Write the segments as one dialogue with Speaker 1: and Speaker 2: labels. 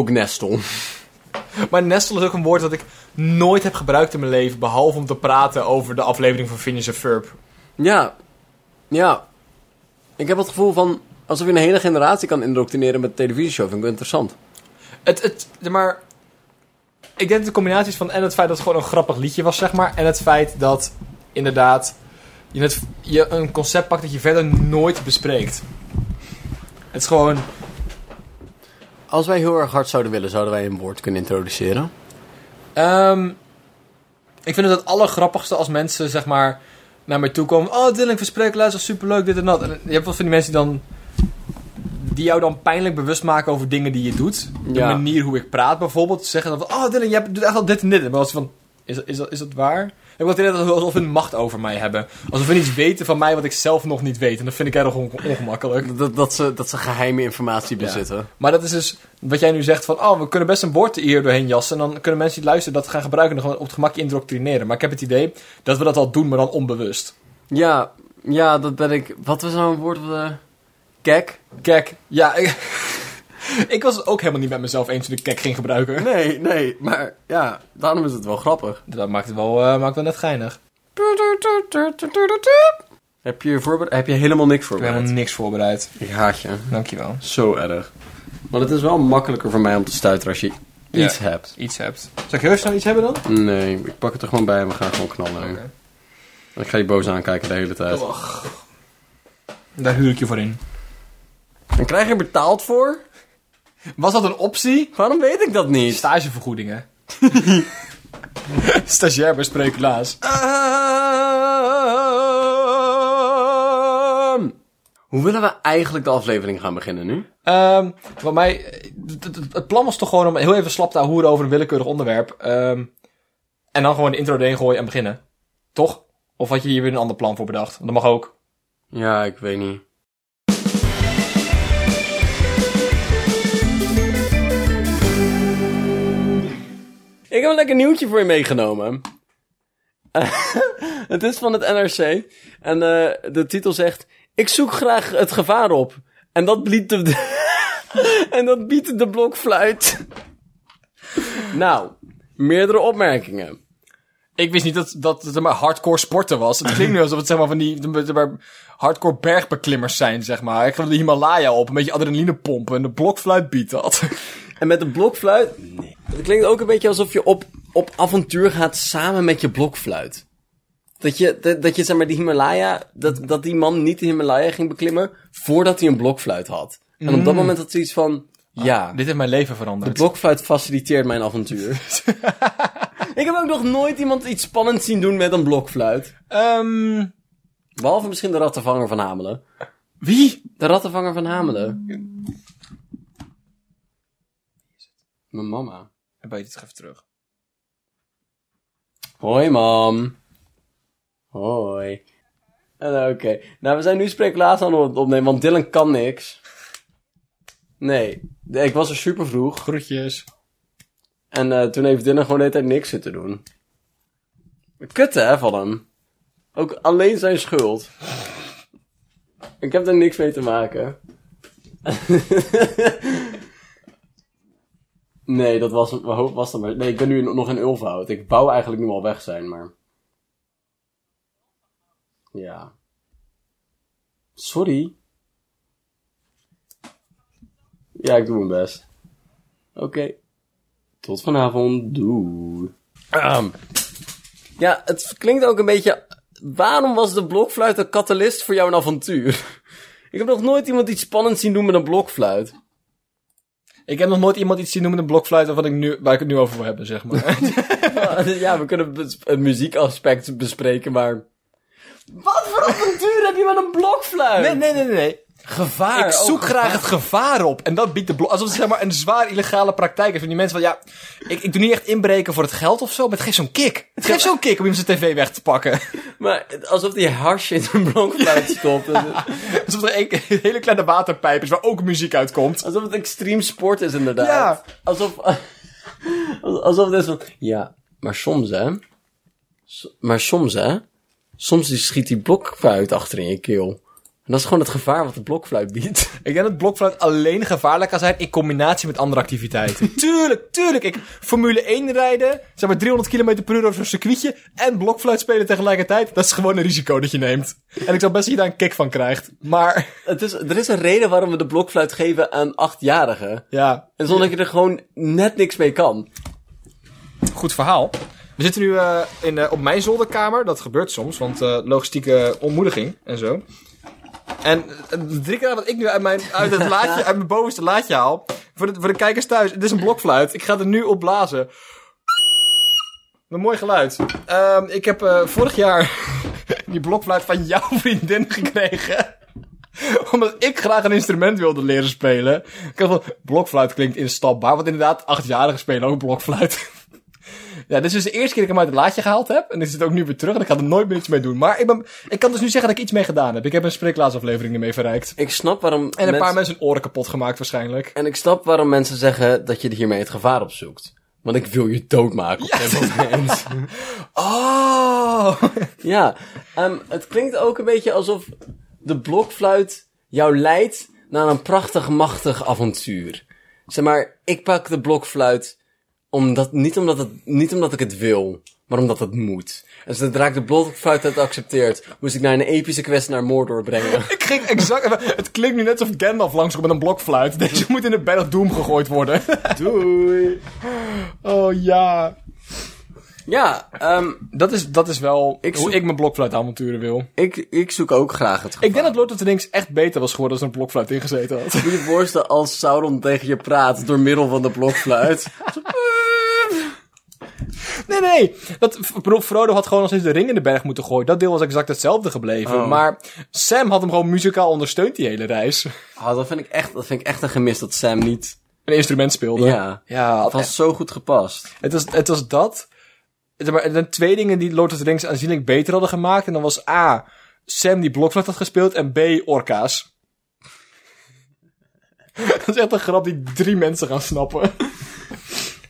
Speaker 1: ook nestel. Maar nestel is ook een woord dat ik nooit heb gebruikt in mijn leven. Behalve om te praten over de aflevering van Phineas en Ferb.
Speaker 2: Ja. Ja. Ik heb het gevoel van... Alsof je een hele generatie kan indoctrineren met televisieshow. Vind ik interessant.
Speaker 1: Het, het, maar... Ik denk dat de combinatie is van en het feit dat het gewoon een grappig liedje was, zeg maar. En het feit dat inderdaad je, het, je een concept pakt dat je verder nooit bespreekt. Het is gewoon...
Speaker 2: Als wij heel erg hard zouden willen, zouden wij een woord kunnen introduceren.
Speaker 1: Ehm, ik vind het het allergrappigste als mensen zeg maar naar mij toe komen. Oh, Dylan, verspreek luister, superleuk, dit en dat. En je hebt wel van die mensen die dan. Die jou dan pijnlijk bewust maken over dingen die je doet. De
Speaker 2: Ja.
Speaker 1: manier hoe ik praat bijvoorbeeld. Ze Zeggen dan van, oh Dylan, jij doet echt al dit en dit. Maar als van, is, is, dat, is dat waar? Ik wil het inderdaad alsof hun macht over mij hebben. Alsof hun iets weten van mij wat ik zelf nog niet weet. En dat vind ik erg on- ongemakkelijk.
Speaker 2: Dat, dat, ze, dat ze geheime informatie bezitten.
Speaker 1: Maar dat is dus wat jij nu zegt van... Oh, we kunnen best een woord hier doorheen jassen. En dan kunnen mensen die luisteren dat gaan gebruiken... en dan gewoon op het gemak indoctrineren. Maar ik heb het idee dat we dat al doen, maar dan onbewust.
Speaker 2: Ja, ja, dat ben ik. Wat was nou een woord? Uh, kek?
Speaker 1: Kijk, ja... Ik, ik was het ook helemaal niet met mezelf eens toen ik kek ging gebruiken.
Speaker 2: Nee, nee, maar ja, daarom is het wel grappig.
Speaker 1: Dat maakt het wel, eh, maakt wel net geinig.
Speaker 2: Heb je, voorbereid? heb je helemaal niks
Speaker 1: Ik heb
Speaker 2: voorbereid?
Speaker 1: helemaal niks voorbereid.
Speaker 2: Ik haat je.
Speaker 1: Dankjewel.
Speaker 2: Zo erg. Maar het is wel makkelijker voor mij om te stuiteren als je
Speaker 1: Ja.
Speaker 2: iets hebt.
Speaker 1: Iets hebt. Zal ik heel snel iets hebben dan?
Speaker 2: Nee, ik pak het er gewoon bij en we gaan gewoon knallen.
Speaker 1: Oké.
Speaker 2: Ik ga je boos aankijken de hele tijd.
Speaker 1: Daar huur ik je voor in.
Speaker 2: En krijg je er betaald voor?
Speaker 1: Was dat een optie?
Speaker 2: Waarom weet ik dat niet?
Speaker 1: Stagevergoedingen. Stagiair bij Spreeklaas.
Speaker 2: Ehm. Hoe willen we eigenlijk de aflevering gaan beginnen nu?
Speaker 1: Ehm wat mij, het- het- het plan was toch gewoon om heel even slap te hoeren over een willekeurig onderwerp. ehm, en dan gewoon de intro erin gooien en beginnen. Toch? Of had je hier weer een ander plan voor bedacht? Dat mag ook.
Speaker 2: Ja, ik weet niet. Ik heb een lekker nieuwtje voor je meegenomen. het is van het NRC. En eh, de titel zegt... Ik zoek graag het gevaar op. En dat, biedt de... en dat biedt de blokfluit. nou, meerdere opmerkingen.
Speaker 1: Ik wist niet dat, dat het maar hardcore sporten was. Het klinkt nu alsof het zeg maar van die de- de- maar hardcore bergbeklimmers zijn, zeg maar. Ik ga de Himalaya op, een beetje adrenaline pompen en de blokfluit biedt dat.
Speaker 2: En met een blokfluit. Het klinkt ook een beetje alsof je op, op avontuur gaat samen met je blokfluit. Dat je, dat, dat je zeg maar, die Himalaya. Dat, dat die man niet de Himalaya ging beklimmen. voordat hij een blokfluit had. En op dat moment had hij iets van. Ja,
Speaker 1: Dit heeft mijn leven veranderd.
Speaker 2: de blokfluit faciliteert mijn avontuur. Ik heb ook nog nooit iemand iets spannends zien doen met een blokfluit.
Speaker 1: Ehm,
Speaker 2: Behalve misschien de rattenvanger van Hamelen.
Speaker 1: wie?
Speaker 2: De rattenvanger van Hamelen. Mijn mama.
Speaker 1: Dan ben je dit even terug.
Speaker 2: Hoi, mam. Hoi. En, eh, Oké. Nou, we zijn nu spreeklaas aan het opnemen, want Dylan kan niks. Nee. De- Ik was er super vroeg.
Speaker 1: Groetjes.
Speaker 2: En eh, toen heeft Dylan gewoon de hele tijd niks zitten doen. Kut, hè, van hem. Ook alleen zijn schuld. Ik heb er niks mee te maken. nee, dat was, mijn hoop was dat maar. Nee, ik ben nu in- nog in Ulfhout. Ik wou eigenlijk nu al weg zijn, maar... Ja. Sorry. Ja, ik doe mijn best. Oké. Tot vanavond. Doei. Ehm, Ja, het klinkt ook een beetje... Waarom was de blokfluit een catalyst voor jou een avontuur? Ik heb nog nooit iemand iets spannends zien doen met een blokfluit.
Speaker 1: Ik heb nog nooit iemand iets zien noemen een blokfluit waarvan ik nu, waar ik het nu over wil hebben, zeg maar.
Speaker 2: ja, we kunnen bes- een muziekaspect bespreken, maar... Wat voor avontuur heb je met een blokfluit?
Speaker 1: nee, nee, nee, nee.
Speaker 2: Gevaar.
Speaker 1: Ik zoek graag het gevaar op. En dat biedt de blok. Alsof het zeg maar een zwaar illegale praktijk is. Van die mensen van ja, ik, ik doe niet echt inbreken voor het geld of zo, maar het geeft zo'n kick. Het geeft zo'n kick om iemand zijn tv weg te pakken.
Speaker 2: Maar alsof die harsje in een blokfluit stopt.
Speaker 1: Alsof er een, een hele kleine waterpijp is waar ook muziek uitkomt.
Speaker 2: Alsof het extreem sport is, inderdaad.
Speaker 1: Ja.
Speaker 2: Alsof, alsof het is van... Ja, maar soms, hè. S- maar soms, hè. Soms die schiet die blokfluit achter in je keel. En dat is gewoon het gevaar wat de blokfluit biedt.
Speaker 1: Ik denk dat blokfluit alleen gevaarlijk kan zijn in combinatie met andere activiteiten. tuurlijk, tuurlijk. Ik, Formule 1 rijden, zeg maar 300 km per uur over zo'n circuitje en blokfluit spelen tegelijkertijd. Dat is gewoon een risico dat je neemt. En ik zal best dat je daar een kick van krijgt. Maar,
Speaker 2: Het is, er is een reden waarom we de blokfluit geven aan achtjarigen.
Speaker 1: ja,
Speaker 2: En zonder dat je er gewoon net niks mee kan.
Speaker 1: goed verhaal. We zitten nu eh, in, eh, op mijn zolderkamer. Dat gebeurt soms, want eh, logistieke ontmoediging en zo. En eh, drie keer wat ik nu uit, mijn, uit het laadje, uit mijn bovenste laadje haal. Voor de, voor de kijkers thuis, het is een blokfluit. Ik ga er nu op blazen. Een mooi geluid. Ehm, ik heb eh, vorig jaar die blokfluit van jouw vriendin gekregen. Omdat ik graag een instrument wilde leren spelen. Ik dacht van, blokfluit klinkt instapbaar. Want inderdaad, achtjarigen spelen ook blokfluit. Ja, dit is dus de eerste keer dat ik hem uit het laadje gehaald heb. En ik zit ook nu weer terug en ik ga er nooit meer iets mee doen. Maar ik, ben, ik kan dus nu zeggen dat ik iets mee gedaan heb. Ik heb een spreeklaatsaflevering ermee verrijkt.
Speaker 2: Ik snap waarom
Speaker 1: En een
Speaker 2: mensen-
Speaker 1: paar mensen hun oren kapot gemaakt waarschijnlijk.
Speaker 2: En ik snap waarom mensen zeggen dat je hiermee het gevaar opzoekt. Want ik wil je doodmaken op dit moment.
Speaker 1: Oh!
Speaker 2: ja, ehm, het klinkt ook een beetje alsof de blokfluit jou leidt naar een prachtig machtig avontuur. Zeg maar, ik pak de blokfluit omdat, niet, omdat het, niet omdat ik het wil, maar omdat het moet. En zodra ik de blokfluit had accepteerd, moest ik naar een epische quest naar Mordor brengen.
Speaker 1: ik ging exact... Het klinkt nu net alsof Gandalf langskomt met een blokfluit. Deze moet in de Battle of Doom gegooid worden.
Speaker 2: Doei!
Speaker 1: Oh ja.
Speaker 2: Ja, ehm,
Speaker 1: Dat is, dat is wel
Speaker 2: Ik
Speaker 1: hoe
Speaker 2: zoek-
Speaker 1: ik mijn blokfluitavonturen wil.
Speaker 2: ik, ik zoek ook graag het gevaar.
Speaker 1: Ik denk dat Lord of the Rings echt beter was geworden als er een blokfluit ingezeten had.
Speaker 2: Moet je je voorstellen als Sauron tegen je praat door middel van de blokfluit.
Speaker 1: Nee, nee. Dat, ik bedoel, Frodo had gewoon nog steeds de ring in de berg moeten gooien. Dat deel was exact hetzelfde gebleven.
Speaker 2: Oh.
Speaker 1: Maar Sam had hem gewoon muzikaal ondersteund die hele reis.
Speaker 2: Ah, dat, vind ik echt, dat vind ik echt een gemis dat Sam niet...
Speaker 1: Een instrument speelde.
Speaker 2: Ja,
Speaker 1: Ja,
Speaker 2: dat was zo goed gepast.
Speaker 1: Het was, het was dat. Zeg Maar, er zijn twee dingen die Lord of the Rings aanzienlijk beter hadden gemaakt. En dan was A. Sam die blokfluit had gespeeld. En B. Orka's. dat is echt een grap die drie mensen gaan snappen.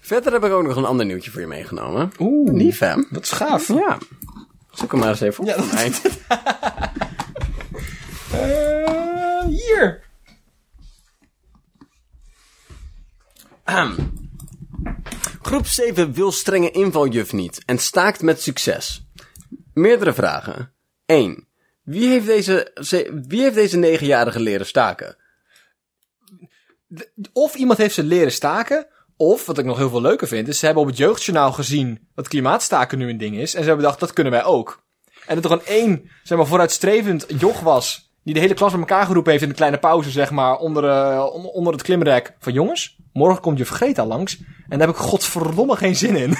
Speaker 2: Verder heb ik ook nog een ander nieuwtje voor je meegenomen.
Speaker 1: Oeh.
Speaker 2: Lief, hè?
Speaker 1: Dat is gaaf.
Speaker 2: Ja. Zoek hem maar eens even op.
Speaker 1: Ja,
Speaker 2: voor mij.
Speaker 1: Eh, hier.
Speaker 2: Ahem. Groep 7 wil strenge invaljuf niet en staakt met succes. Meerdere vragen. 1. Wie heeft deze, ze- wie heeft deze 9-jarige leren staken?
Speaker 1: Of iemand heeft ze leren staken. Of, wat ik nog heel veel leuker vind, is ze hebben op het jeugdjournaal gezien dat klimaatstaken nu een ding is. En ze hebben bedacht, dat kunnen wij ook. En dat er gewoon één, zeg maar, vooruitstrevend joch was. Die de hele klas bij elkaar geroepen heeft in de kleine pauze, zeg maar, onder, eh, on- onder het klimrek. Van jongens, morgen komt juf Greta langs. En daar heb ik godverdomme geen zin in.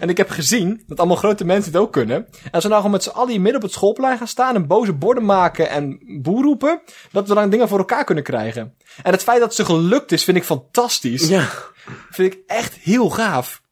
Speaker 1: en ik heb gezien dat allemaal grote mensen het ook kunnen. En als we nou gewoon met z'n allen hier midden op het schoolplein gaan staan en boze borden maken en boer roepen. Dat we dan dingen voor elkaar kunnen krijgen. En het feit dat ze gelukt is, vind ik fantastisch.
Speaker 2: Ja.
Speaker 1: Vind ik echt heel gaaf.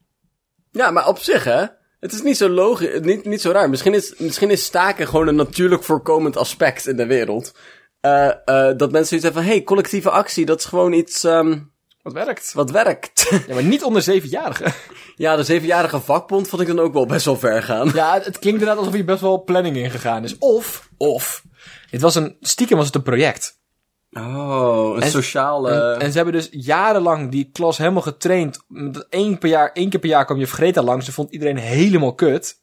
Speaker 2: Ja, maar op zich, hè? Het is niet zo logisch, niet, niet zo raar. Misschien is, misschien is staken gewoon een natuurlijk voorkomend aspect in de wereld. Eh, eh, dat mensen zoiets hebben van, hey, collectieve actie, dat is gewoon iets ehm,
Speaker 1: Wat werkt.
Speaker 2: wat werkt.
Speaker 1: Ja, maar niet onder zevenjarigen.
Speaker 2: ja, de zevenjarige vakbond vond ik dan ook wel best wel ver gaan.
Speaker 1: Ja, het, het klinkt inderdaad alsof hier best wel planning in gegaan is. Of, of, het was een, stiekem was het een project.
Speaker 2: Oh, een sociale...
Speaker 1: En ze hebben dus jarenlang die klas helemaal getraind. Met één, per jaar, één keer per jaar kwam je Greta langs en vond iedereen helemaal kut.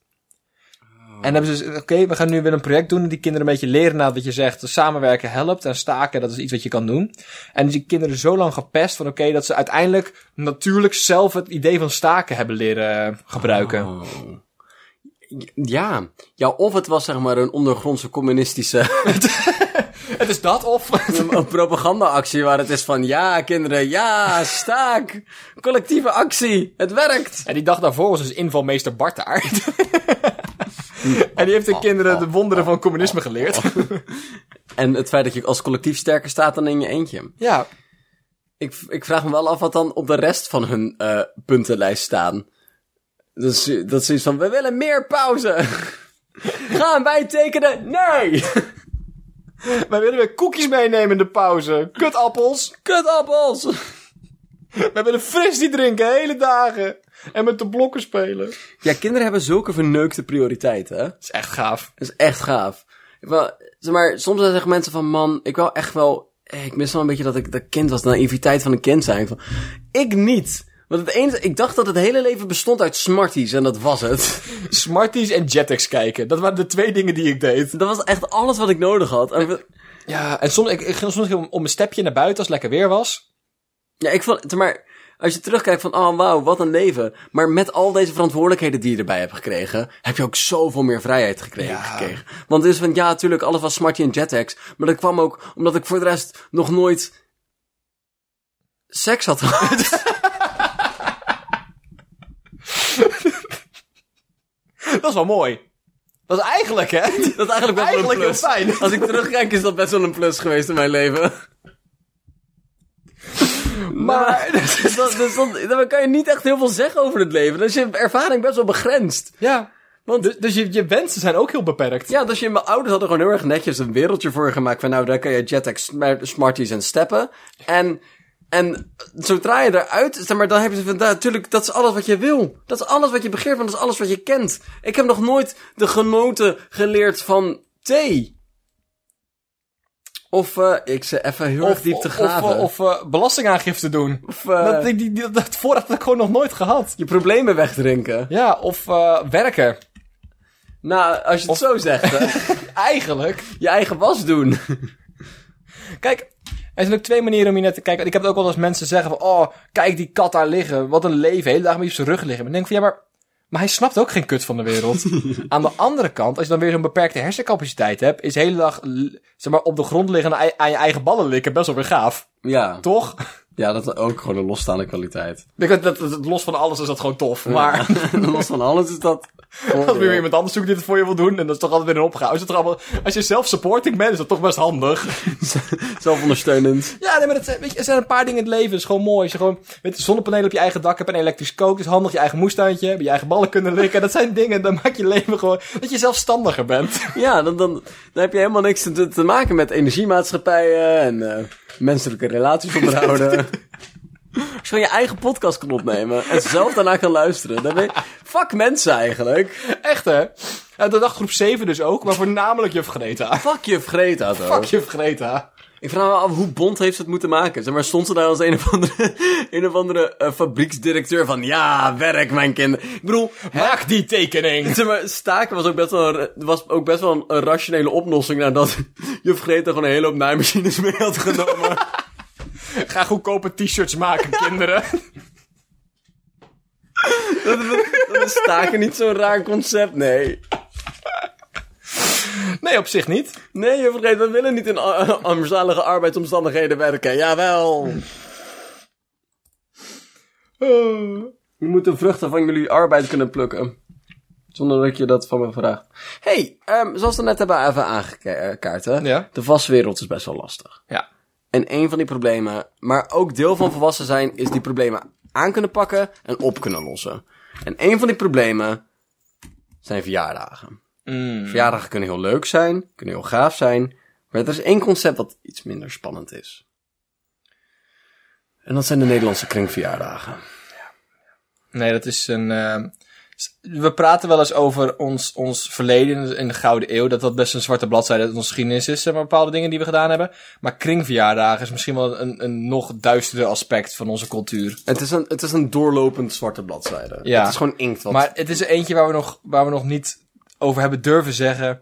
Speaker 1: En hebben ze dus, oké, we gaan nu weer een project doen en die kinderen een beetje leren na wat je zegt. Samenwerken helpt en staken, dat is iets wat je kan doen. En die kinderen zo lang gepest van oké, dat ze uiteindelijk natuurlijk zelf het idee van staken hebben leren gebruiken.
Speaker 2: Oh. Ja. ja, of het was zeg maar een ondergrondse communistische
Speaker 1: Het is dat of...
Speaker 2: een propagandaactie waar het is van, ja kinderen, ja, staak, collectieve actie, het werkt.
Speaker 1: En die dag daarvoor was dus invalmeester Bart daar. en die heeft de kinderen de wonderen van communisme geleerd.
Speaker 2: En het feit dat je als collectief sterker staat dan in je eentje.
Speaker 1: ja.
Speaker 2: Ik, ik vraag me wel af wat dan op de rest van hun eh, puntenlijst staan. Dus, eh, dat is zoiets van, we willen meer pauze. Gaan wij tekenen? Nee!
Speaker 1: Wij willen weer koekjes meenemen in de pauze. Kutappels.
Speaker 2: Kutappels!
Speaker 1: Wij willen frisdie drinken, hele dagen. En met de blokken spelen.
Speaker 2: Ja, kinderen hebben zulke verneukte prioriteiten. hè?
Speaker 1: is echt gaaf.
Speaker 2: Dat is echt gaaf. wel, zeg maar, soms zeggen mensen van, man, ik wil echt wel, eh, ik mis wel een beetje dat ik dat kind was, de naïviteit van een kind zijn. Van, ik niet. Want het enige, ik dacht dat het hele leven bestond uit Smarties en dat was het.
Speaker 1: Smarties en Jetix kijken. Dat waren de twee dingen die ik deed.
Speaker 2: Dat was echt alles wat ik nodig had. En we-
Speaker 1: Ja, en soms, ik, ik ging soms om, om een stepje naar buiten als het lekker weer was.
Speaker 2: ja, ik vond, zeg maar, als je terugkijkt van, oh wauw, wat een leven. Maar met al deze verantwoordelijkheden die je erbij hebt gekregen, heb je ook zoveel meer vrijheid gekregen.
Speaker 1: Ja.
Speaker 2: gekregen. Want het is van, ja, natuurlijk, alles was Smartie en Jetix. Maar dat kwam ook omdat ik voor de rest nog nooit seks had gehad.
Speaker 1: Dat is wel mooi. Dat is eigenlijk, hè?
Speaker 2: dat is eigenlijk best
Speaker 1: Eigenlijk
Speaker 2: wel
Speaker 1: heel
Speaker 2: een plus.
Speaker 1: fijn.
Speaker 2: Als ik terugkijk is dat best wel een plus geweest in mijn leven.
Speaker 1: Maar...
Speaker 2: Dus dat, dus dat- dan kan je niet echt heel veel zeggen over het leven. Dan is je ervaring best wel begrensd.
Speaker 1: Ja.
Speaker 2: Want-
Speaker 1: Dus, dus je, je wensen zijn ook heel beperkt.
Speaker 2: Ja, dus je, mijn ouders hadden gewoon heel erg netjes een wereldje voor je gemaakt. Van nou, daar kan je jettex, sma- smarties en steppen. En, en zodra je eruit, zeg maar, dan heb je van, nou, natuurlijk, dat is alles wat je wil. Dat is alles wat je begeert, want dat is alles wat je kent. Ik heb nog nooit de genoten geleerd van thee. Of, eh, ik ze even heel erg diep te graven.
Speaker 1: Of, of, eh, belastingaangifte doen.
Speaker 2: eh,
Speaker 1: dat, die, die, dat, dat voorrecht heb ik gewoon nog nooit gehad.
Speaker 2: je problemen wegdrinken.
Speaker 1: Ja, of eh, werken.
Speaker 2: Nou, als je het zo zegt, hè.
Speaker 1: Eigenlijk.
Speaker 2: je eigen was doen.
Speaker 1: Kijk, er zijn ook twee manieren om hier naar te kijken. Ik heb het ook wel eens mensen zeggen van... Oh, kijk die kat daar liggen. Wat een leven. Hele dag met je op zijn rug liggen. Maar ik denk van... Ja, maar... Maar hij snapt ook geen kut van de wereld. Aan de andere kant, als je dan weer zo'n beperkte hersencapaciteit hebt... is de hele dag l- zeg maar, op de grond liggen en aan- aan je eigen ballen likken best wel weer gaaf.
Speaker 2: Ja.
Speaker 1: Toch?
Speaker 2: ja, dat is ook gewoon een losstaande kwaliteit.
Speaker 1: Ik denk dat, dat- dat- los van alles is dat gewoon tof. Maar
Speaker 2: Los van alles is dat. eh,
Speaker 1: als weer iemand anders zoekt die het voor je wil doen... en dat is toch altijd weer een opgave. Is het toch allemaal, als je zelf supporting bent, is dat toch best handig.
Speaker 2: Zelfondersteunend.
Speaker 1: Ja, nee, maar dat, zijn- weet je, er zijn een paar dingen in het leven. Dat is gewoon mooi. Als je gewoon met zonnepanelen op je eigen dak hebt en elektrisch kookt. is handig. Je eigen moestuintje. hebben, Je eigen ballen kunnen likken. Dat zijn dingen. Dan maakt je leven gewoon dat je zelfstandiger bent.
Speaker 2: Ja, dan, dan, dan heb je helemaal niks te, te maken met energiemaatschappijen en eh, menselijke relaties onderhouden. Als je gewoon je eigen podcast kan opnemen en zelf daarna kan luisteren. Dan ben je, fuck mensen eigenlijk.
Speaker 1: Echt, hè? Ja, dat dacht groep 7 dus ook. Maar voornamelijk juf Greta.
Speaker 2: Fuck je Greta, toch?
Speaker 1: Fuck juf Greta.
Speaker 2: Ik vraag me af hoe bond heeft ze het moeten maken. Zeg maar, stond ze daar als een of andere, een of andere eh, fabrieksdirecteur van... Ja, werk mijn kinderen. Ik bedoel,
Speaker 1: Maak die tekening.
Speaker 2: Zeg maar, staken was ook best wel, een, was ook best wel een, een rationele oplossing nadat juf Greta gewoon een hele hoop naaimachines mee had genomen.
Speaker 1: Ga goedkope t-shirts maken, kinderen.
Speaker 2: dat, we- dat is staken niet zo'n raar concept, nee.
Speaker 1: Nee, op zich niet.
Speaker 2: Nee, juf Greta, we willen niet in a- armzalige arbeidsomstandigheden werken. Jawel.
Speaker 1: Eh,
Speaker 2: We moeten vruchten van jullie arbeid kunnen plukken. Zonder dat je dat van me vraagt. hey, ehm, zoals we net hebben even aangekaart, hè?
Speaker 1: Ja.
Speaker 2: De vastwereld is best wel lastig.
Speaker 1: ja.
Speaker 2: En een van die problemen, maar ook deel van volwassen zijn, is die problemen aan kunnen pakken en op kunnen lossen. En een van die problemen zijn verjaardagen.
Speaker 1: Mm.
Speaker 2: Verjaardagen kunnen heel leuk zijn, kunnen heel gaaf zijn, maar er is één concept dat iets minder spannend is. En dat zijn de Nederlandse kringverjaardagen.
Speaker 1: Nee, dat is een. ehm, s- we praten wel eens over ons, ons verleden in de Gouden Eeuw. Dat dat best een zwarte bladzijde uit onze geschiedenis is. Zeg maar bepaalde dingen die we gedaan hebben. Maar kringverjaardagen is misschien wel een, een nog duisterder aspect van onze cultuur.
Speaker 2: Het is een, het is een doorlopend zwarte bladzijde.
Speaker 1: Ja.
Speaker 2: Het is gewoon inkt wat...
Speaker 1: Maar het is er eentje waar we nog, waar we nog niet over hebben durven zeggen.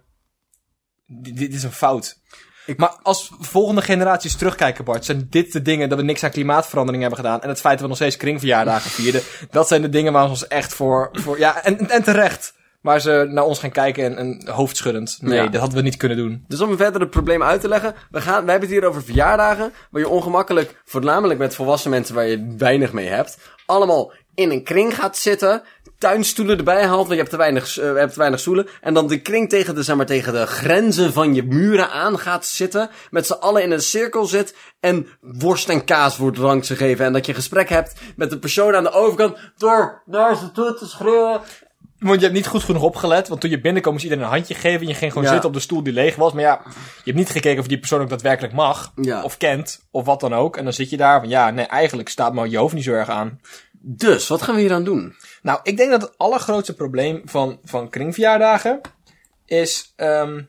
Speaker 1: Dit, dit is een fout.
Speaker 2: Ik-
Speaker 1: Maar als volgende generaties terugkijken, Bart, zijn dit de dingen dat we niks aan klimaatverandering hebben gedaan. En het feit dat we nog steeds kringverjaardagen vierden. dat zijn de dingen waar ze ons echt voor. voor ja, en, en terecht. Waar ze naar ons gaan kijken en, en hoofdschuddend. Nee,
Speaker 2: Ja.
Speaker 1: dat hadden we niet kunnen doen.
Speaker 2: Dus om verder het probleem uit te leggen, we, gaan, we hebben het hier over verjaardagen, waar je ongemakkelijk, voornamelijk met volwassen mensen waar je weinig mee hebt, allemaal in een kring gaat zitten, tuinstoelen erbij haalt, want je hebt te weinig, eh, je hebt te weinig stoelen, en dan de kring tegen de, zeg maar, tegen de grenzen van je muren aan gaat zitten, met z'n allen in een cirkel zit, en worst en kaas wordt langs gegeven, en dat je gesprek hebt met de persoon aan de overkant, door naar ze toe te schreeuwen,
Speaker 1: Want je hebt niet goed genoeg opgelet. Want toen je binnenkwam, moest iedereen een handje geven. En je ging gewoon
Speaker 2: Ja.
Speaker 1: zitten op de stoel die leeg was. Maar ja, je hebt niet gekeken of die persoon ook daadwerkelijk mag.
Speaker 2: Ja.
Speaker 1: Of kent. Of wat dan ook. En dan zit je daar van ja, nee, eigenlijk staat me je hoofd niet zo erg aan.
Speaker 2: Dus, wat gaan we hier aan doen?
Speaker 1: Nou, ik denk dat het allergrootste probleem van, van kringverjaardagen is ehm,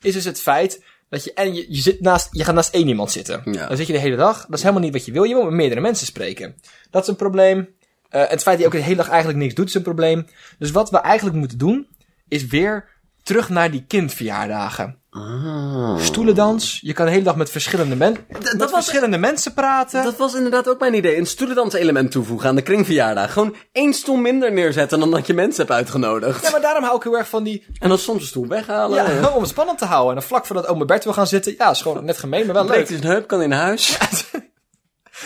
Speaker 1: is dus het feit dat je, en je, je, zit naast, je gaat naast één iemand zitten.
Speaker 2: Ja.
Speaker 1: Dan zit je de hele dag. Dat is helemaal niet wat je wil. Je wil met meerdere mensen spreken. Dat is een probleem. Eh, het feit dat je ook de hele dag eigenlijk niks doet is een probleem. Dus wat we eigenlijk moeten doen, is weer terug naar die kindverjaardagen.
Speaker 2: Ah.
Speaker 1: Stoelendans. Je kan de hele dag met verschillende, men met
Speaker 2: was-
Speaker 1: verschillende mensen praten.
Speaker 2: Dat was inderdaad ook mijn idee. Een stoelendans element toevoegen aan de kringverjaardag. Gewoon één stoel minder neerzetten dan dat je mensen hebt uitgenodigd.
Speaker 1: Ja, maar daarom hou ik heel erg van die...
Speaker 2: En dan soms een stoel weghalen.
Speaker 1: Ja, om het spannend te houden. En dan vlak voordat oma Bert wil gaan zitten. Ja, is gewoon net gemeen, maar wel leuk.
Speaker 2: Breekt dus een heup, kan in huis.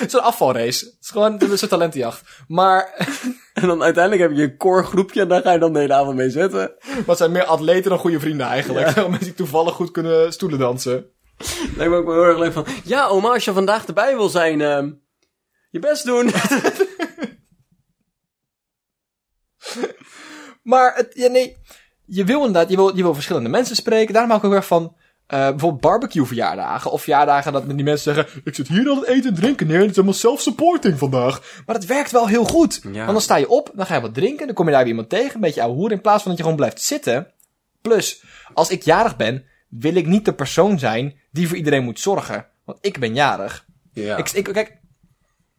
Speaker 1: Zo'n afvalrace. Het is gewoon een soort talentenjacht. Maar
Speaker 2: En dan uiteindelijk heb je een core groepje en daar ga je dan de hele avond mee zitten.
Speaker 1: wat zijn meer atleten dan goede vrienden eigenlijk. Mensen die toevallig goed kunnen stoelen dansen.
Speaker 2: Lijkt me ook wel heel erg leuk van... Ja, oma, als je vandaag erbij wil zijn, ehm, je best doen.
Speaker 1: Maar het, ja, nee, je wil inderdaad, je wil, je wil verschillende mensen spreken. Daarom hou ik ook heel erg van eh, bijvoorbeeld barbecue verjaardagen. Of verjaardagen dat die mensen zeggen, ik zit hier aan het eten en drinken neer. Het is helemaal self-supporting vandaag. Maar dat werkt wel heel goed.
Speaker 2: Ja.
Speaker 1: Want dan sta je op, dan ga je wat drinken. Dan kom je daar weer iemand tegen, een beetje ouwe hoer. In plaats van dat je gewoon blijft zitten. Plus, als ik jarig ben, wil ik niet de persoon zijn die voor iedereen moet zorgen. Want ik ben jarig.
Speaker 2: Ja.
Speaker 1: Ik, ik, kijk,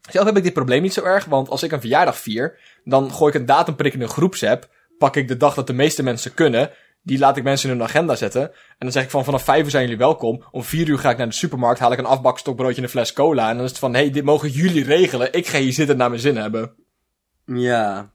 Speaker 1: zelf heb ik dit probleem niet zo erg, want als ik een verjaardag vier, dan gooi ik een datumprik in een groepsapp, pak ik de dag dat de meeste mensen kunnen, die laat ik mensen in hun agenda zetten, en dan zeg ik van vanaf vijf uur zijn jullie welkom, om vier uur ga ik naar de supermarkt, haal ik een afbakstokbroodje en een fles cola, en dan is het van, hey, dit mogen jullie regelen, ik ga hier zitten naar mijn zin hebben.
Speaker 2: Ja.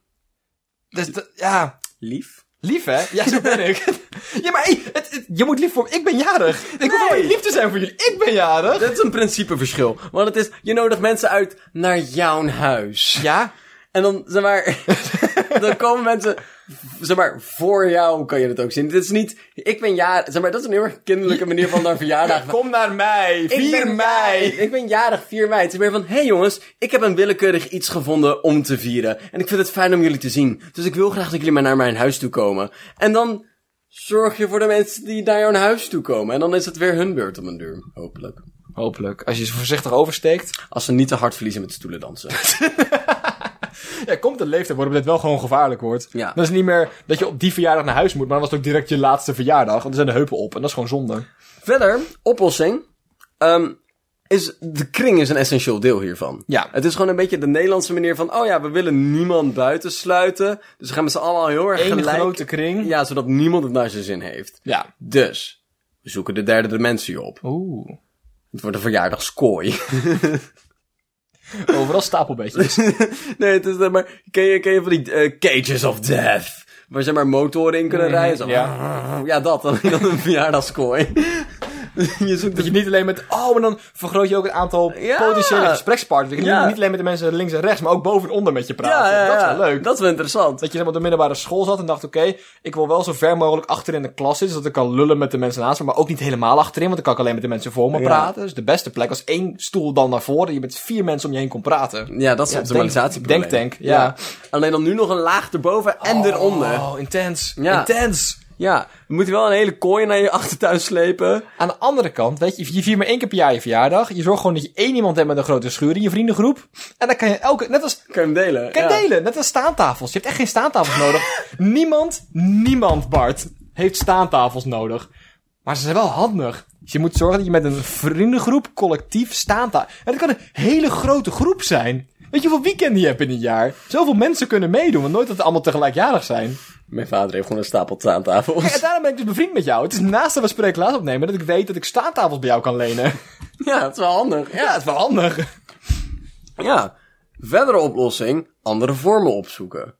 Speaker 1: Dus dat- ja,
Speaker 2: Lief.
Speaker 1: lief hè? Ja, zo ben ik. ja, maar hey, het, het- je moet lief voor, ik ben jarig. Ik hoef helemaal niet lief te zijn voor jullie, ik ben jarig.
Speaker 2: Dat is een principeverschil. Want het is, je nodigt mensen uit naar jouw huis.
Speaker 1: Ja,
Speaker 2: En dan, zeg maar, dan komen mensen, zeg maar, voor jou kan je dat ook zien. Dit is niet, ik ben jarig, zeg maar, dat is een heel erg kinderlijke manier van naar verjaardag.
Speaker 1: kom naar mij,
Speaker 2: Ik
Speaker 1: 4
Speaker 2: ben
Speaker 1: mei.
Speaker 2: jarig. Ik ben jarig 4 mei. Het is meer van, hey jongens, ik heb een willekeurig iets gevonden om te vieren. En ik vind het fijn om jullie te zien. Dus ik wil graag dat jullie maar naar mijn huis toe komen. En dan zorg je voor de mensen die naar jouw huis toe komen. En dan is het weer hun beurt om een duur, hopelijk.
Speaker 1: Hopelijk. Als je ze voorzichtig oversteekt.
Speaker 2: Als ze niet te hard verliezen met stoelen dansen.
Speaker 1: Ja, komt een leeftijd waarop dit wel gewoon gevaarlijk wordt.
Speaker 2: Ja.
Speaker 1: Dan is het niet meer dat je op die verjaardag naar huis moet, maar dan was het ook direct je laatste verjaardag. Want dan zijn de heupen op en dat is gewoon zonde.
Speaker 2: Verder, oplossing. Ehm, is, de kring is een essentieel deel hiervan.
Speaker 1: Ja.
Speaker 2: Het is gewoon een beetje de Nederlandse manier van... oh ja, we willen niemand buitensluiten. Dus we gaan met z'n allen heel erg
Speaker 1: Eén
Speaker 2: gelijk...
Speaker 1: grote kring.
Speaker 2: Ja, zodat niemand het naar zijn zin heeft.
Speaker 1: Ja.
Speaker 2: Dus, we zoeken de derde dimensie op.
Speaker 1: Oeh.
Speaker 2: Het wordt een verjaardagskooi.
Speaker 1: Overal stapelbeetjes.
Speaker 2: nee, het is zeg maar... Ken je, ken je van die eh, cages of death? Waar zeg maar motoren in kunnen rijden. Zo.
Speaker 1: Mhm, ja.
Speaker 2: ja, dat. Dan, dan een verjaardagskooi. je zoekt de...
Speaker 1: dat je niet alleen met, oh, maar dan vergroot je ook het aantal
Speaker 2: Ja.
Speaker 1: potentiële gesprekspartners. Dat je niet-
Speaker 2: Ja.
Speaker 1: niet alleen met de mensen links en rechts, maar ook boven en onder met je praten. dat is wel leuk.
Speaker 2: Dat is wel interessant.
Speaker 1: Dat je helemaal op de middelbare school zat en dacht, oké, ik wil wel zo ver mogelijk achterin in de klas zitten, zodat ik kan lullen met de mensen naast me, maar ook niet helemaal achterin, want dan kan ik alleen met de mensen voor me
Speaker 2: Ja.
Speaker 1: praten. Dus de beste plek was één stoel dan naar voren, je met vier mensen om je heen kon praten.
Speaker 2: Ja, dat is
Speaker 1: Ja,
Speaker 2: een optimalisatieprobleem.
Speaker 1: denk- denktank, ja.
Speaker 2: Alleen dan nu nog een laag erboven en eronder.
Speaker 1: Oh, intens.
Speaker 2: Ja.
Speaker 1: Intens.
Speaker 2: Ja, we moeten wel een hele kooi naar je achtertuin slepen.
Speaker 1: Aan de andere kant, weet je, je viert maar één keer per jaar je verjaardag. Je zorgt gewoon dat je één iemand hebt met een grote schuur in je vriendengroep. En dan kan je elke, net als
Speaker 2: Kan je hem delen?
Speaker 1: Kan je
Speaker 2: ja.
Speaker 1: delen, net als staantafels. Je hebt echt geen staantafels nodig. Niemand, niemand, Bart, heeft staantafels nodig. Maar ze zijn wel handig. Dus je moet zorgen dat je met een vriendengroep collectief staantafels... En dat kan een hele grote groep zijn. Weet je hoeveel weekenden je hebt in een jaar? Zoveel mensen kunnen meedoen, want nooit dat ze allemaal tegelijkjarig zijn.
Speaker 2: Mijn vader heeft gewoon een stapel
Speaker 1: Kijk,
Speaker 2: taantafels.
Speaker 1: en daarom ben ik dus bevriend met jou. Het is naast dat we Spreek Laat opnemen dat ik weet dat ik staantafels bij jou kan lenen.
Speaker 2: Ja, dat is wel handig.
Speaker 1: Ja,
Speaker 2: Ja.
Speaker 1: het is wel handig.
Speaker 2: ja. Verdere oplossing, andere vormen opzoeken. Kunnen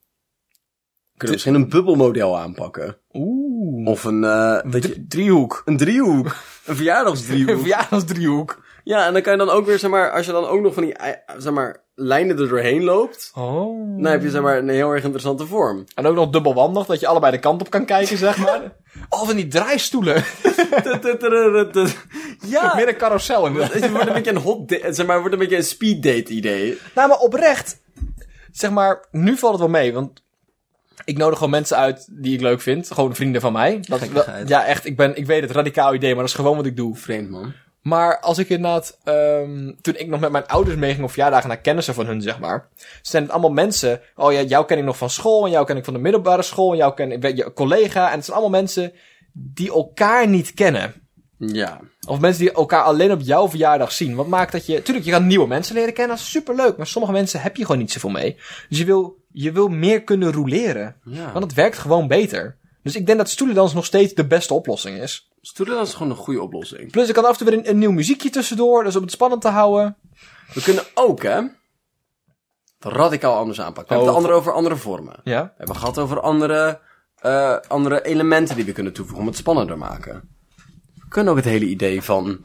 Speaker 2: we misschien een bubbelmodel aanpakken.
Speaker 1: Oeh.
Speaker 2: Of een, eh dat je,
Speaker 1: Driehoek.
Speaker 2: een driehoek. Een verjaardagsdriehoek.
Speaker 1: Een verjaardagsdriehoek.
Speaker 2: ja, en dan kan je dan ook weer, zeg maar, als je dan ook nog van die, eh, zeg maar, lijnen er doorheen loopt.
Speaker 1: Oh.
Speaker 2: Dan heb je, zeg maar, een heel erg interessante vorm.
Speaker 1: En ook nog dubbelwandig, dat je allebei de kant op kan kijken, zeg maar. oh, van die draaistoelen.
Speaker 2: ja,
Speaker 1: Meer een carousel in
Speaker 2: het wordt een beetje een hot date, zeg maar, wordt een beetje een speed date idee.
Speaker 1: Nou, maar oprecht. Zeg maar, nu valt het wel mee, want... Ik nodig gewoon mensen uit die ik leuk vind. Gewoon vrienden van mij. Dat is wel-
Speaker 2: Gekkigheid.
Speaker 1: ja, echt. Ik, ben, ik weet het, radicaal idee, maar dat is gewoon wat ik doe.
Speaker 2: Vreemd man.
Speaker 1: Maar als ik inderdaad, ehm, toen ik nog met mijn ouders meeging op verjaardagen naar kennissen van hun, zeg maar. Zijn het allemaal mensen, oh ja, jou ken ik nog van school en jou ken ik van de middelbare school en jou ken ik, weet je, collega. En het zijn allemaal mensen die elkaar niet kennen.
Speaker 2: Ja.
Speaker 1: Of mensen die elkaar alleen op jouw verjaardag zien. Wat maakt dat je... Tuurlijk, je kan nieuwe mensen leren kennen. Dat is superleuk. Maar sommige mensen heb je gewoon niet zoveel mee. Dus je wil, je wil meer kunnen rouleren.
Speaker 2: ja.
Speaker 1: Want het werkt gewoon beter. Dus ik denk dat stoelendans nog steeds de beste oplossing is.
Speaker 2: Stoelendans is gewoon een goede oplossing.
Speaker 1: Plus, ik kan af en toe weer een, een nieuw muziekje tussendoor. Dus om het spannend te houden.
Speaker 2: We kunnen ook, hè, het radicaal anders aanpakken. We
Speaker 1: Oh,
Speaker 2: hebben het
Speaker 1: wat-
Speaker 2: andere over andere vormen.
Speaker 1: Ja.
Speaker 2: We hebben gehad over andere, eh, andere elementen die we kunnen toevoegen om het spannender maken. We kunnen ook het hele idee van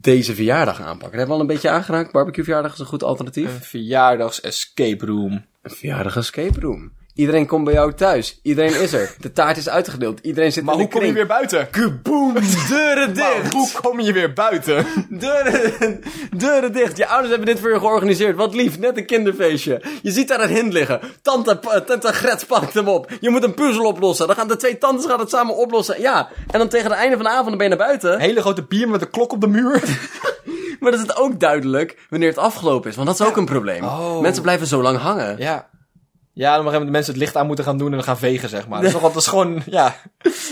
Speaker 2: deze verjaardag aanpakken. Dat hebben we al een beetje aangeraakt. Barbecueverjaardag is een goed alternatief.
Speaker 1: Een verjaardags escape room.
Speaker 2: Een verjaardag escape room. Iedereen komt bij jou thuis. Iedereen is er. De taart is uitgedeeld. Iedereen zit in de kring.
Speaker 1: buiten?
Speaker 2: Kaboom! Deuren dicht!
Speaker 1: hoe kom je weer buiten?
Speaker 2: Deuren, deuren dicht. Je ouders hebben dit voor je georganiseerd. Wat lief, net een kinderfeestje. Je ziet daar een hint liggen. Tante, pa- tante Gret pakt hem op. Je moet een puzzel oplossen. Dan gaan de twee tantes gaan het samen oplossen. Ja, en dan tegen het einde van de avond ben je naar buiten.
Speaker 1: Een hele grote bier met een klok op de muur.
Speaker 2: Maar dan is het ook duidelijk wanneer het afgelopen is. Want dat is ook een probleem.
Speaker 1: Oh.
Speaker 2: Mensen blijven zo lang hangen.
Speaker 1: ja. Ja, dan gaan de mensen het licht aan moeten gaan doen en dan gaan vegen, zeg maar. Dat is, toch, dat is gewoon, ja.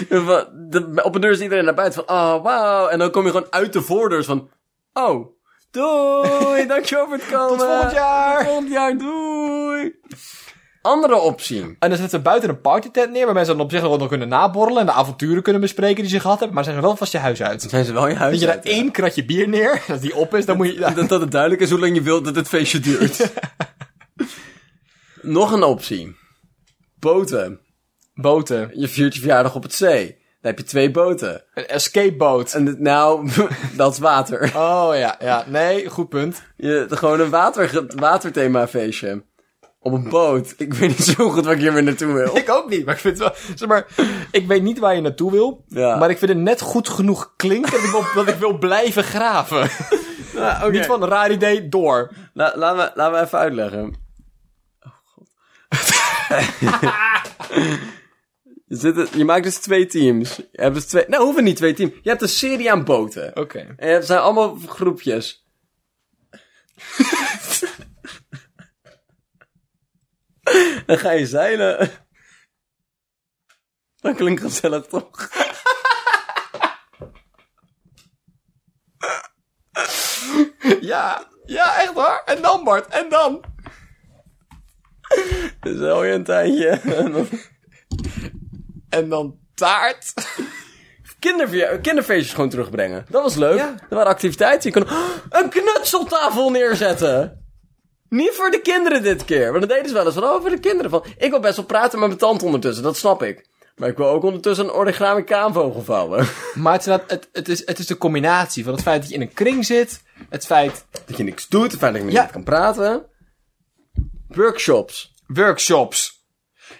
Speaker 2: De- op een deur is iedereen naar buiten van, oh, wauw. En dan kom je gewoon uit de voordeurs van, oh, doei, dankjewel voor het komen.
Speaker 1: Tot volgend jaar!
Speaker 2: Volgend jaar, doei. Andere optie.
Speaker 1: En dan zetten we buiten een partytent neer waar mensen dan op zich nog wel kunnen naborrelen en de avonturen kunnen bespreken die ze gehad hebben, maar zijn ze wel vast je huis uit.
Speaker 2: Zijn ze wel in je huis?
Speaker 1: Dat je daar
Speaker 2: uit, hè?
Speaker 1: één kratje bier neer, dat die op is, dan moet je... ja.
Speaker 2: Dat, dat het duidelijk is hoe lang je wilt dat het feestje duurt. Nog een optie. Boten.
Speaker 1: Boten.
Speaker 2: Je viert je verjaardag op het zee. Dan heb je twee boten.
Speaker 1: Een escapeboot.
Speaker 2: En het- nou, dat is water.
Speaker 1: Oh ja, ja. Nee, goed punt.
Speaker 2: Je, gewoon een water, waterthema feestje. Op een boot. Ik weet niet zo goed waar ik hier weer naartoe wil.
Speaker 1: Ik ook niet, maar ik vind het wel... Zeg maar, ik weet niet waar je naartoe wil,
Speaker 2: Ja.
Speaker 1: maar ik vind het net goed genoeg klinken dat ik wil, dat ik wil blijven graven.
Speaker 2: Nou, oké.
Speaker 1: Niet van een raar idee, door.
Speaker 2: La- laat, me, laat me even uitleggen. Oh, god. je, zit er- je maakt dus twee teams. Je hebt dus twee... Nou, hoeven niet twee teams. Je hebt een serie aan boten.
Speaker 1: Oké.
Speaker 2: En het zijn allemaal groepjes. Dan ga je zeilen. Dat klinkt gezellig, toch?
Speaker 1: Ja, ja, echt waar. En dan Bart, en dan?
Speaker 2: Dan zeil je een tijdje.
Speaker 1: En dan taart.
Speaker 2: Kinderverja- kinderfeestjes gewoon terugbrengen. Dat was leuk.
Speaker 1: Ja.
Speaker 2: Er waren activiteiten. Je kon Oh, een knutseltafel neerzetten. Niet voor de kinderen dit keer. Want dat deden ze wel eens. Van, oh, voor de kinderen. Van, ik wil best wel praten met mijn tante ondertussen. Dat snap ik. Maar ik wil ook ondertussen een origami kaanvogel vouwen.
Speaker 1: Maar het is, inderdaad- het, het, is, het is de combinatie van het feit dat je in een kring zit, het feit
Speaker 2: Dat je niks doet. Het feit dat ik met
Speaker 1: Ja.
Speaker 2: iemand kan praten. Workshops.
Speaker 1: workshops.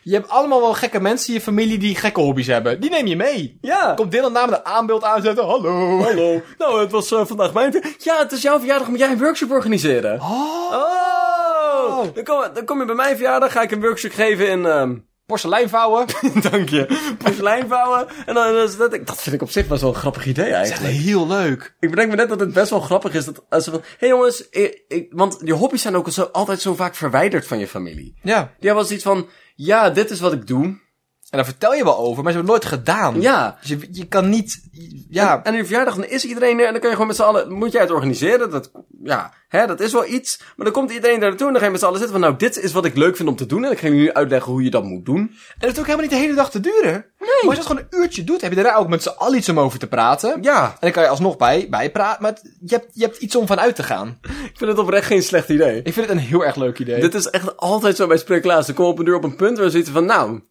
Speaker 1: Je hebt allemaal wel gekke mensen in je familie die gekke hobby's hebben. Die neem je mee.
Speaker 2: Ja.
Speaker 1: Komt Dylan namen de aanbeeld aanzetten. Hallo.
Speaker 2: Hallo. Nou, het was eh, vandaag mijn... Ja, het is jouw verjaardag. Moet jij een workshop organiseren?
Speaker 1: Oh.
Speaker 2: Oh. Dan kom, dan kom je bij mijn verjaardag. Ga ik een workshop geven in... ehm,
Speaker 1: Porselein vouwen.
Speaker 2: Dank je. Porselein vouwen. En dan, is dat, ik- dat vind ik op zich best wel een grappig idee eigenlijk.
Speaker 1: Heel leuk.
Speaker 2: Ik bedenk me net dat het best wel grappig is. Dat als ze van, hey jongens, ik, ik- want je hobby's zijn ook zo, altijd zo vaak verwijderd van je familie.
Speaker 1: Ja.
Speaker 2: Ja, was iets van, ja, dit is wat ik doe.
Speaker 1: En daar vertel je wel over, maar ze hebben het nooit gedaan.
Speaker 2: Ja.
Speaker 1: Dus je, je kan niet... Ja.
Speaker 2: En in je verjaardag dan is iedereen er en dan kun je gewoon met z'n allen, moet jij het organiseren. Dat, ja, hè, dat is wel iets. Maar dan komt iedereen daar naartoe en dan ga je met z'n allen zitten van, nou, dit is wat ik leuk vind om te doen. En ik ga jullie nu uitleggen hoe je dat moet doen.
Speaker 1: En het hoeft ook helemaal niet de hele dag te duren. Maar als je het gewoon een uurtje doet, heb je daarna ook met z'n allen iets om over te praten.
Speaker 2: Ja,
Speaker 1: En dan kan je alsnog bij, bij praten, maar het- je, hebt, je hebt iets om van uit te gaan.
Speaker 2: ik vind het oprecht geen slecht idee.
Speaker 1: Ik vind het een heel erg leuk idee.
Speaker 2: Dit is echt altijd zo bij Spreeklaas. Ze komen op een deur op een punt waar ze zitten van, nou,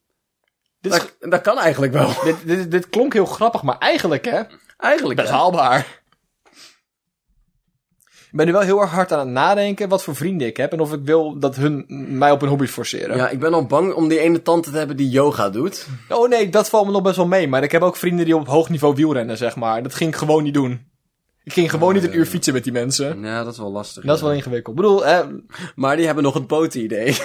Speaker 1: Dit is-
Speaker 2: dat, dat kan eigenlijk wel.
Speaker 1: dit, dit, dit klonk heel grappig, maar eigenlijk hè,
Speaker 2: Eigenlijk
Speaker 1: best
Speaker 2: wel.
Speaker 1: haalbaar. Ik ben nu wel heel erg hard aan het nadenken wat voor vrienden ik heb en of ik wil dat hun mij op hun hobby's forceren.
Speaker 2: Ja, ik ben al bang om die ene tante te hebben die yoga doet.
Speaker 1: Oh nee, dat valt me nog best wel mee, maar ik heb ook vrienden die op hoog niveau wielrennen, zeg maar. Dat ging ik gewoon niet doen. Ik ging gewoon niet een
Speaker 2: Ah.
Speaker 1: uur fietsen met die mensen.
Speaker 2: Ja, dat is wel lastig.
Speaker 1: Dat is wel ingewikkeld. Ik bedoel, hè,
Speaker 2: Maar die hebben nog het botenidee.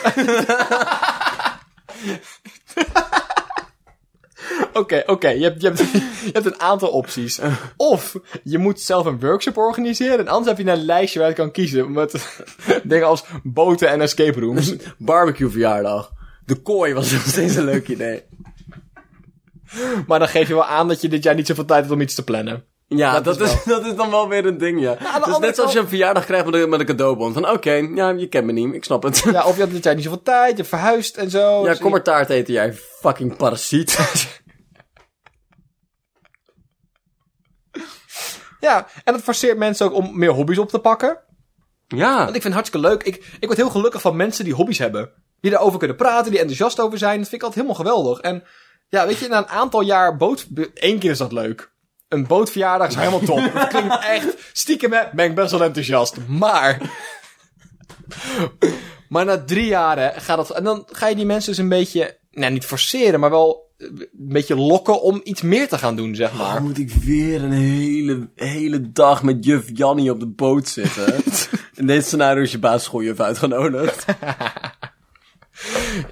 Speaker 1: Oké, oké. Je, hebt, je, hebt, je hebt een aantal opties. Of je moet zelf een workshop organiseren. En anders heb je een lijstje waar je kan kiezen. Met dingen als boten en escape rooms.
Speaker 2: Barbecue verjaardag. De kooi was nog steeds een leuk idee.
Speaker 1: Maar dan geef je wel aan dat je dit jaar niet zoveel tijd hebt om iets te plannen.
Speaker 2: Ja, dat,
Speaker 1: Dat is
Speaker 2: is, dat is dan wel weer een ding, ja.
Speaker 1: aan de
Speaker 2: dus net
Speaker 1: andere
Speaker 2: zoals je een verjaardag krijgt met een, met een cadeaubon. Van oké, ja, je kent me niet, ik snap het.
Speaker 1: Ja, of je had dit jaar niet zoveel tijd, je hebt verhuisd en zo.
Speaker 2: Ja,
Speaker 1: Dus
Speaker 2: kom maar taart eten, jij fucking parasiet.
Speaker 1: Ja, en dat forceert mensen ook om meer hobby's op te pakken.
Speaker 2: ja,
Speaker 1: Want ik vind het hartstikke leuk. Ik, ik word heel gelukkig van mensen die hobby's hebben. Die daarover kunnen praten, die enthousiast over zijn. Dat vind ik altijd helemaal geweldig. En ja, weet je, na een aantal jaar boot... Eén keer is dat leuk. Een bootverjaardag is helemaal top. Dat klinkt echt... Stiekem hè, ben ik best wel enthousiast. Maar... Maar na drie jaren gaat dat... En dan ga je die mensen dus een beetje... Nou, niet forceren, maar wel een beetje lokken om iets meer te gaan doen, zeg maar.
Speaker 2: Dan moet ik weer een hele, hele dag met juf Jannie op de boot zitten. In dit scenario is je basisschooljuf uitgenodigd.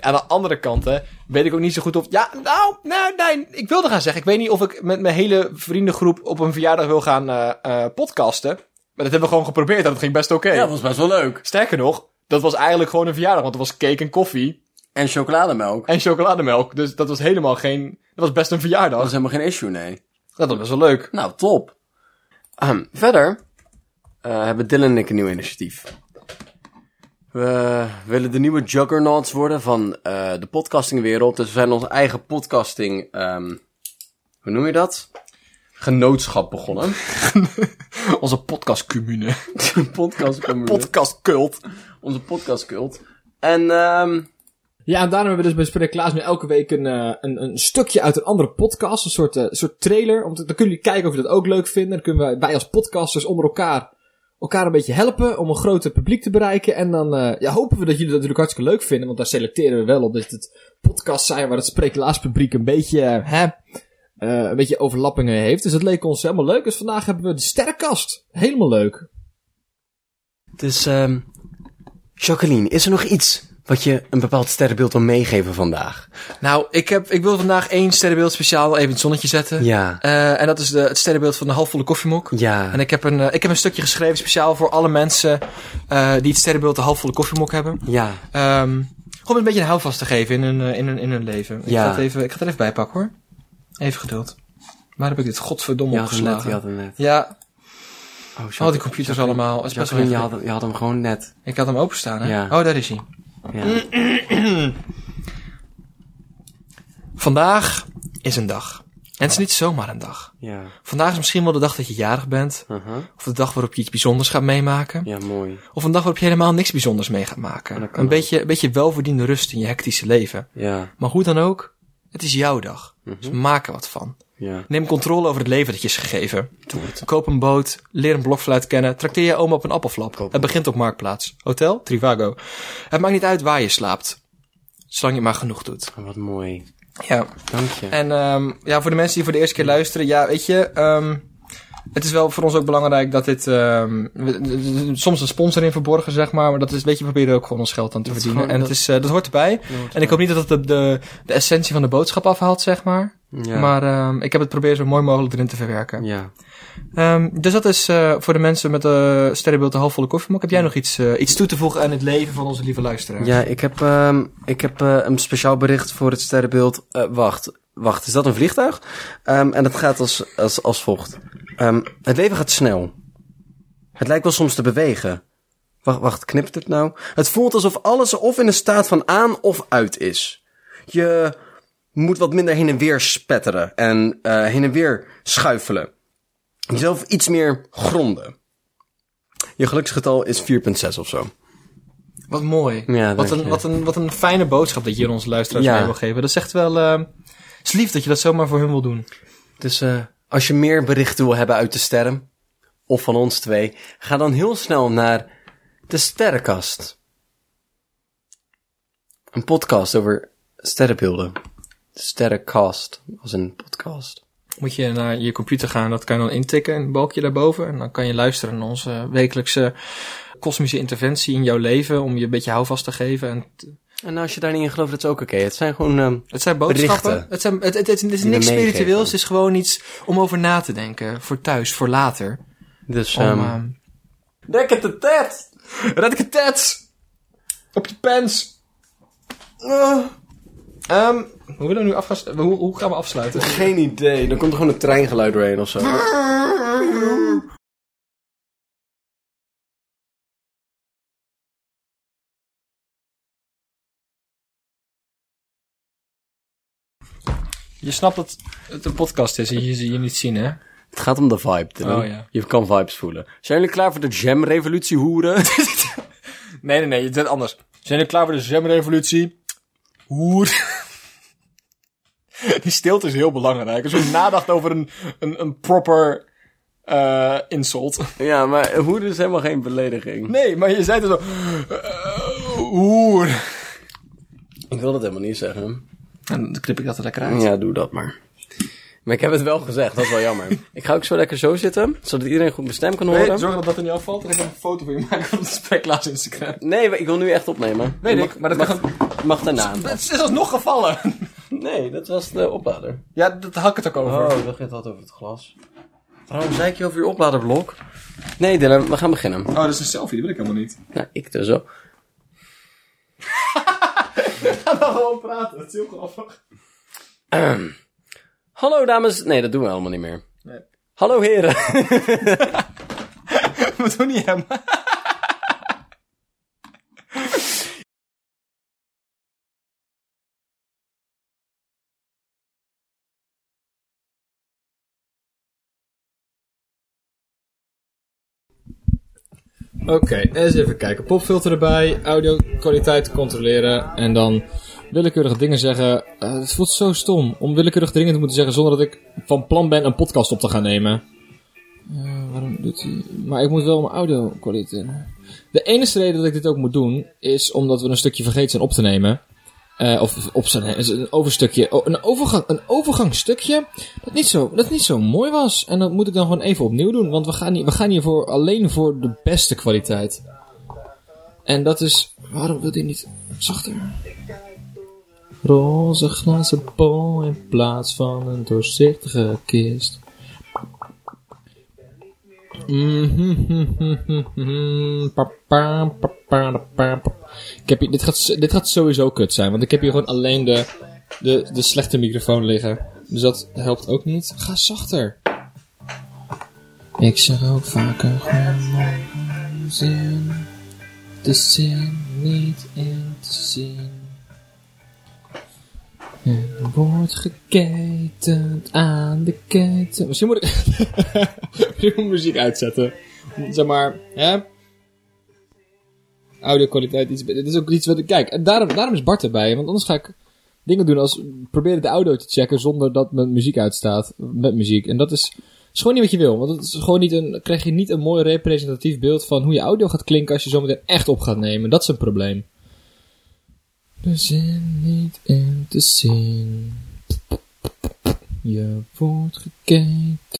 Speaker 1: Aan de andere kant, hè, weet ik ook niet zo goed of... Ja, nou, nou, nee, ik wilde gaan zeggen. Ik weet niet of ik met mijn hele vriendengroep op een verjaardag wil gaan eh, eh, podcasten. Maar dat hebben we gewoon geprobeerd en dat ging best oké.
Speaker 2: Ja, dat was best wel leuk.
Speaker 1: Sterker nog, dat was eigenlijk gewoon een verjaardag. Want er was cake en koffie
Speaker 2: En chocolademelk.
Speaker 1: en chocolademelk. Dus dat was helemaal geen... Dat was best een
Speaker 2: Dat
Speaker 1: verjaardag.
Speaker 2: is helemaal geen issue, nee.
Speaker 1: Dat was best wel leuk.
Speaker 2: Nou, top. Ahem, verder eh, hebben Dylan en ik een nieuw initiatief. We willen de nieuwe juggernauts worden van eh, de podcastingwereld. Dus we zijn onze eigen podcasting... ehm, hoe noem je dat? Genootschap begonnen.
Speaker 1: Onze podcastcommune.
Speaker 2: podcastcommune.
Speaker 1: Podcastcult.
Speaker 2: onze podcastcult. En ehm
Speaker 3: Ja, en daarom hebben we dus bij Spreek Klaas nu elke week een, eh, een, een stukje uit een andere podcast. Een soort, eh, soort trailer. Om te- dan kunnen jullie kijken of je dat ook leuk vindt. Dan kunnen we, wij als podcasters onder elkaar elkaar een beetje helpen om een groter publiek te bereiken. En dan eh, ja, hopen we dat jullie dat natuurlijk hartstikke leuk vinden. Want daar selecteren we wel op dat het podcasts zijn waar het Spreek Klaas publiek een beetje, eh, hè, eh, een beetje overlappingen heeft. Dus dat leek ons helemaal leuk. Dus vandaag hebben we de sterrenkast. Helemaal leuk.
Speaker 2: Dus, ehm Jacqueline, is er nog iets wat je een bepaald sterrenbeeld wil meegeven vandaag?
Speaker 1: Nou, ik, heb, ik wil vandaag één sterrenbeeld speciaal even in het zonnetje zetten.
Speaker 2: Ja.
Speaker 1: Eh, en dat is de, het sterrenbeeld van de halfvolle koffiemok.
Speaker 2: Ja.
Speaker 1: En ik heb, een, eh, ik heb een stukje geschreven speciaal voor alle mensen eh, die het sterrenbeeld de halfvolle koffiemok hebben.
Speaker 2: Ja.
Speaker 1: Ehm, gewoon een beetje een houvast te geven in hun, eh, in hun, in hun leven. Ik,
Speaker 2: Ja.
Speaker 1: ga het even, ik ga het er even bij pakken hoor. Even geduld. Waar heb ik dit godverdomme
Speaker 2: Je had hem net, je
Speaker 1: opgeslagen?
Speaker 2: had hem net.
Speaker 1: Ja,
Speaker 2: Oh,
Speaker 1: al die computers allemaal. Het is best wel
Speaker 2: Jacqueline, je had,
Speaker 1: heftig.
Speaker 2: hem- je had hem gewoon net.
Speaker 1: Ik had hem openstaan hè?
Speaker 2: Ja.
Speaker 1: Oh, daar is hij.
Speaker 2: Ja.
Speaker 1: Mm. Vandaag is een dag. En het is niet zomaar een dag.
Speaker 2: Ja.
Speaker 1: Vandaag is misschien wel de dag dat je jarig bent.
Speaker 2: Uh-huh.
Speaker 1: Of de dag waarop je iets bijzonders gaat meemaken.
Speaker 2: Ja, mooi.
Speaker 1: Of een dag waarop je helemaal niks bijzonders mee gaat maken.
Speaker 2: dat kan
Speaker 1: een,
Speaker 2: ook.
Speaker 1: beetje, een beetje welverdiende rust in je hectische leven.
Speaker 2: Ja.
Speaker 1: Maar hoe dan ook, het is jouw dag.
Speaker 2: Mhm.
Speaker 1: Dus maak er wat van.
Speaker 2: Ja.
Speaker 1: Neem controle over het leven dat je is gegeven. Koop een boot, leer een blokfluit kennen, trakteer je oma op een appelflap. het begint op Marktplaats. Hotel? Trivago. Het maakt niet uit waar je slaapt. Zolang je maar genoeg doet.
Speaker 2: Oh, wat mooi.
Speaker 1: Ja.
Speaker 2: Dank je.
Speaker 1: En ehm, ja, voor de mensen die voor de eerste keer luisteren, ja, weet je, ehm, het is wel voor ons ook belangrijk dat dit ehm, we- we- we- soms een sponsor in verborgen, zeg maar, maar dat is, weet je, we proberen ook gewoon ons geld aan te
Speaker 2: Dat is
Speaker 1: verdienen.
Speaker 2: gewoon-
Speaker 1: en het is, eh, dat hoort erbij. En ik hoop niet dat het de, de, de essentie van de boodschap afhaalt, zeg maar.
Speaker 2: Ja.
Speaker 1: Maar ehm, ik heb het proberen zo mooi mogelijk erin te verwerken.
Speaker 2: Ja.
Speaker 1: Ehm, dus dat is eh, voor de mensen met eh sterrenbeeld de halfvolle koffiemok. Heb jij nog iets, eh, iets toe te voegen aan het leven van onze lieve luisteraar?
Speaker 2: Ja, ik heb, ehm, ik heb eh, een speciaal bericht voor het sterrenbeeld. Eh, wacht, wacht, is dat een vliegtuig? Ehm, en dat gaat als, als, als volgt. Ehm, het leven gaat snel. Het lijkt wel soms te bewegen. Wacht, wacht, knipt het nou? Het voelt alsof alles of in een staat van aan of uit is. Je moet wat minder heen en weer spetteren en eh, heen en weer schuifelen. Jezelf iets meer gronden. Je geluksgetal is 4,6 of zo.
Speaker 1: Wat mooi.
Speaker 2: Ja,
Speaker 1: wat,
Speaker 2: dank
Speaker 1: een,
Speaker 2: je.
Speaker 1: wat, een, wat een fijne boodschap dat je hier onze luisteraars
Speaker 2: Ja.
Speaker 1: mee wil geven. Dat is echt wel... ehm, het is lief dat je dat zomaar voor hun wil doen.
Speaker 2: Dus eh, als je meer berichten wil hebben uit de sterren, of van ons twee, ga dan heel snel naar de Sterrenkast. Een podcast over sterrenbeelden. De Sterrenkast was een podcast.
Speaker 1: Moet je naar je computer gaan, dat kan je dan intikken, een balkje daarboven. En dan kan je luisteren naar onze wekelijkse kosmische interventie in jouw leven. Om je een beetje houvast te geven. En t-
Speaker 2: En als je daar niet in gelooft, dat is ook oké. Het zijn gewoon... ehm,
Speaker 1: het zijn boodschappen.
Speaker 2: Berichten.
Speaker 1: Het, zijn, het, het, het is
Speaker 2: we
Speaker 1: niks
Speaker 2: meegeven.
Speaker 1: spiritueels, het is gewoon iets om over na te denken. Voor thuis, voor later.
Speaker 2: dus...
Speaker 1: Om,
Speaker 2: ehm
Speaker 1: ehm,
Speaker 2: Dek het de tet!
Speaker 1: Red ik het tet! Op je pens! Eh, Ehm, hoe willen we nu afgas... Hoe, hoe gaan we afsluiten?
Speaker 2: Geen idee. Dan komt er gewoon een treingeluid doorheen of zo.
Speaker 1: Je snapt dat het een podcast is en je je niet zien, hè?
Speaker 2: Het gaat om de vibe, Dylan.
Speaker 1: Oh, ja.
Speaker 2: Je kan vibes voelen. Zijn jullie klaar voor de jam-revolutie, hoeren?
Speaker 1: Nee, nee, nee. Het is anders. Zijn jullie klaar voor de Zemrevolutie? Hoer. Die stilte is heel belangrijk. Als je nadacht over een, een, een proper eh, insult.
Speaker 2: ja, maar hoeren is helemaal geen belediging.
Speaker 1: Nee, maar je zei het zo... eh, hoer.
Speaker 2: Ik wil dat helemaal niet zeggen.
Speaker 1: En dan knip ik dat er lekker uit.
Speaker 2: Ja, doe dat maar. Maar ik heb het wel gezegd, dat is wel jammer. ik ga ook zo lekker zo zitten, zodat iedereen goed mijn stem kan horen.
Speaker 1: Hey, zorg dat dat er niet afvalt. Dan ga ik een foto van je maken op de speklaas Instagram.
Speaker 2: Nee, maar ik wil nu echt opnemen.
Speaker 1: Weet
Speaker 2: Je
Speaker 1: ik, maar dat
Speaker 2: mag,
Speaker 1: kan-
Speaker 2: mag daarna.
Speaker 1: Het is alsnog gevallen.
Speaker 2: Nee, dat was de oplader.
Speaker 1: Ja, dat had ik het ook over.
Speaker 2: Oh, dacht je het had over het glas. Waarom zei ik je over je opladerblok? Nee, Dylan, we gaan beginnen.
Speaker 1: Oh, dat is een selfie. Dat wil ik helemaal niet.
Speaker 2: Nou, ik dus zo.
Speaker 1: Ga dan gewoon praten. Dat is heel grappig.
Speaker 2: Hallo dames. Nee, dat doen we helemaal niet meer.
Speaker 1: Nee.
Speaker 2: Hallo heren.
Speaker 1: We doen niet hem.
Speaker 3: Oké, eens even kijken. Popfilter erbij, audio kwaliteit controleren en dan willekeurige dingen zeggen. Eh, het voelt zo stom om willekeurig dingen te moeten zeggen zonder dat ik van plan ben een podcast op te gaan nemen. Eh, waarom doet hij? Maar ik moet wel mijn audio kwaliteit. De enige reden dat ik dit ook moet doen is omdat we een stukje vergeten zijn op te nemen. Eh, of op zijn is een overstukje. oh, een, overgang, een overgangstukje. Dat niet, zo, dat niet zo mooi was. En dat moet ik dan gewoon even opnieuw doen. Want we gaan, hier, we gaan hier voor, alleen voor de beste kwaliteit. En dat is. Waarom wil hij niet zachter? Roze glazen bol in plaats van een doorzichtige kist. Mhm, mhm, mhm, mhm, pa, pa, pa, pa, da, pa, pa. Ik heb hier, dit, gaat, s- dit gaat sowieso kut zijn, want ik heb hier gewoon alleen de, de, de slechte microfoon liggen. Dus dat helpt ook niet. Ga zachter. Ik zeg ook vaker gewoon mijn zin. De zin niet in te zien. En wordt geketend aan de keten. Misschien moet ik. Misschien moet ik muziek uitzetten. Zeg maar, hè? Audio-kwaliteit iets. be- Dit is ook iets wat ik. Kijk, en daarom, daarom is Bart erbij. Want anders ga ik dingen doen als proberen de audio te checken zonder dat mijn muziek uitstaat. Met muziek. En dat is, is gewoon niet wat je wil. Want het is gewoon niet een, krijg je niet een mooi representatief beeld van hoe je audio gaat klinken als je zometeen echt op gaat nemen. Dat is een probleem. De zin niet in te zien. Je wordt gekeken.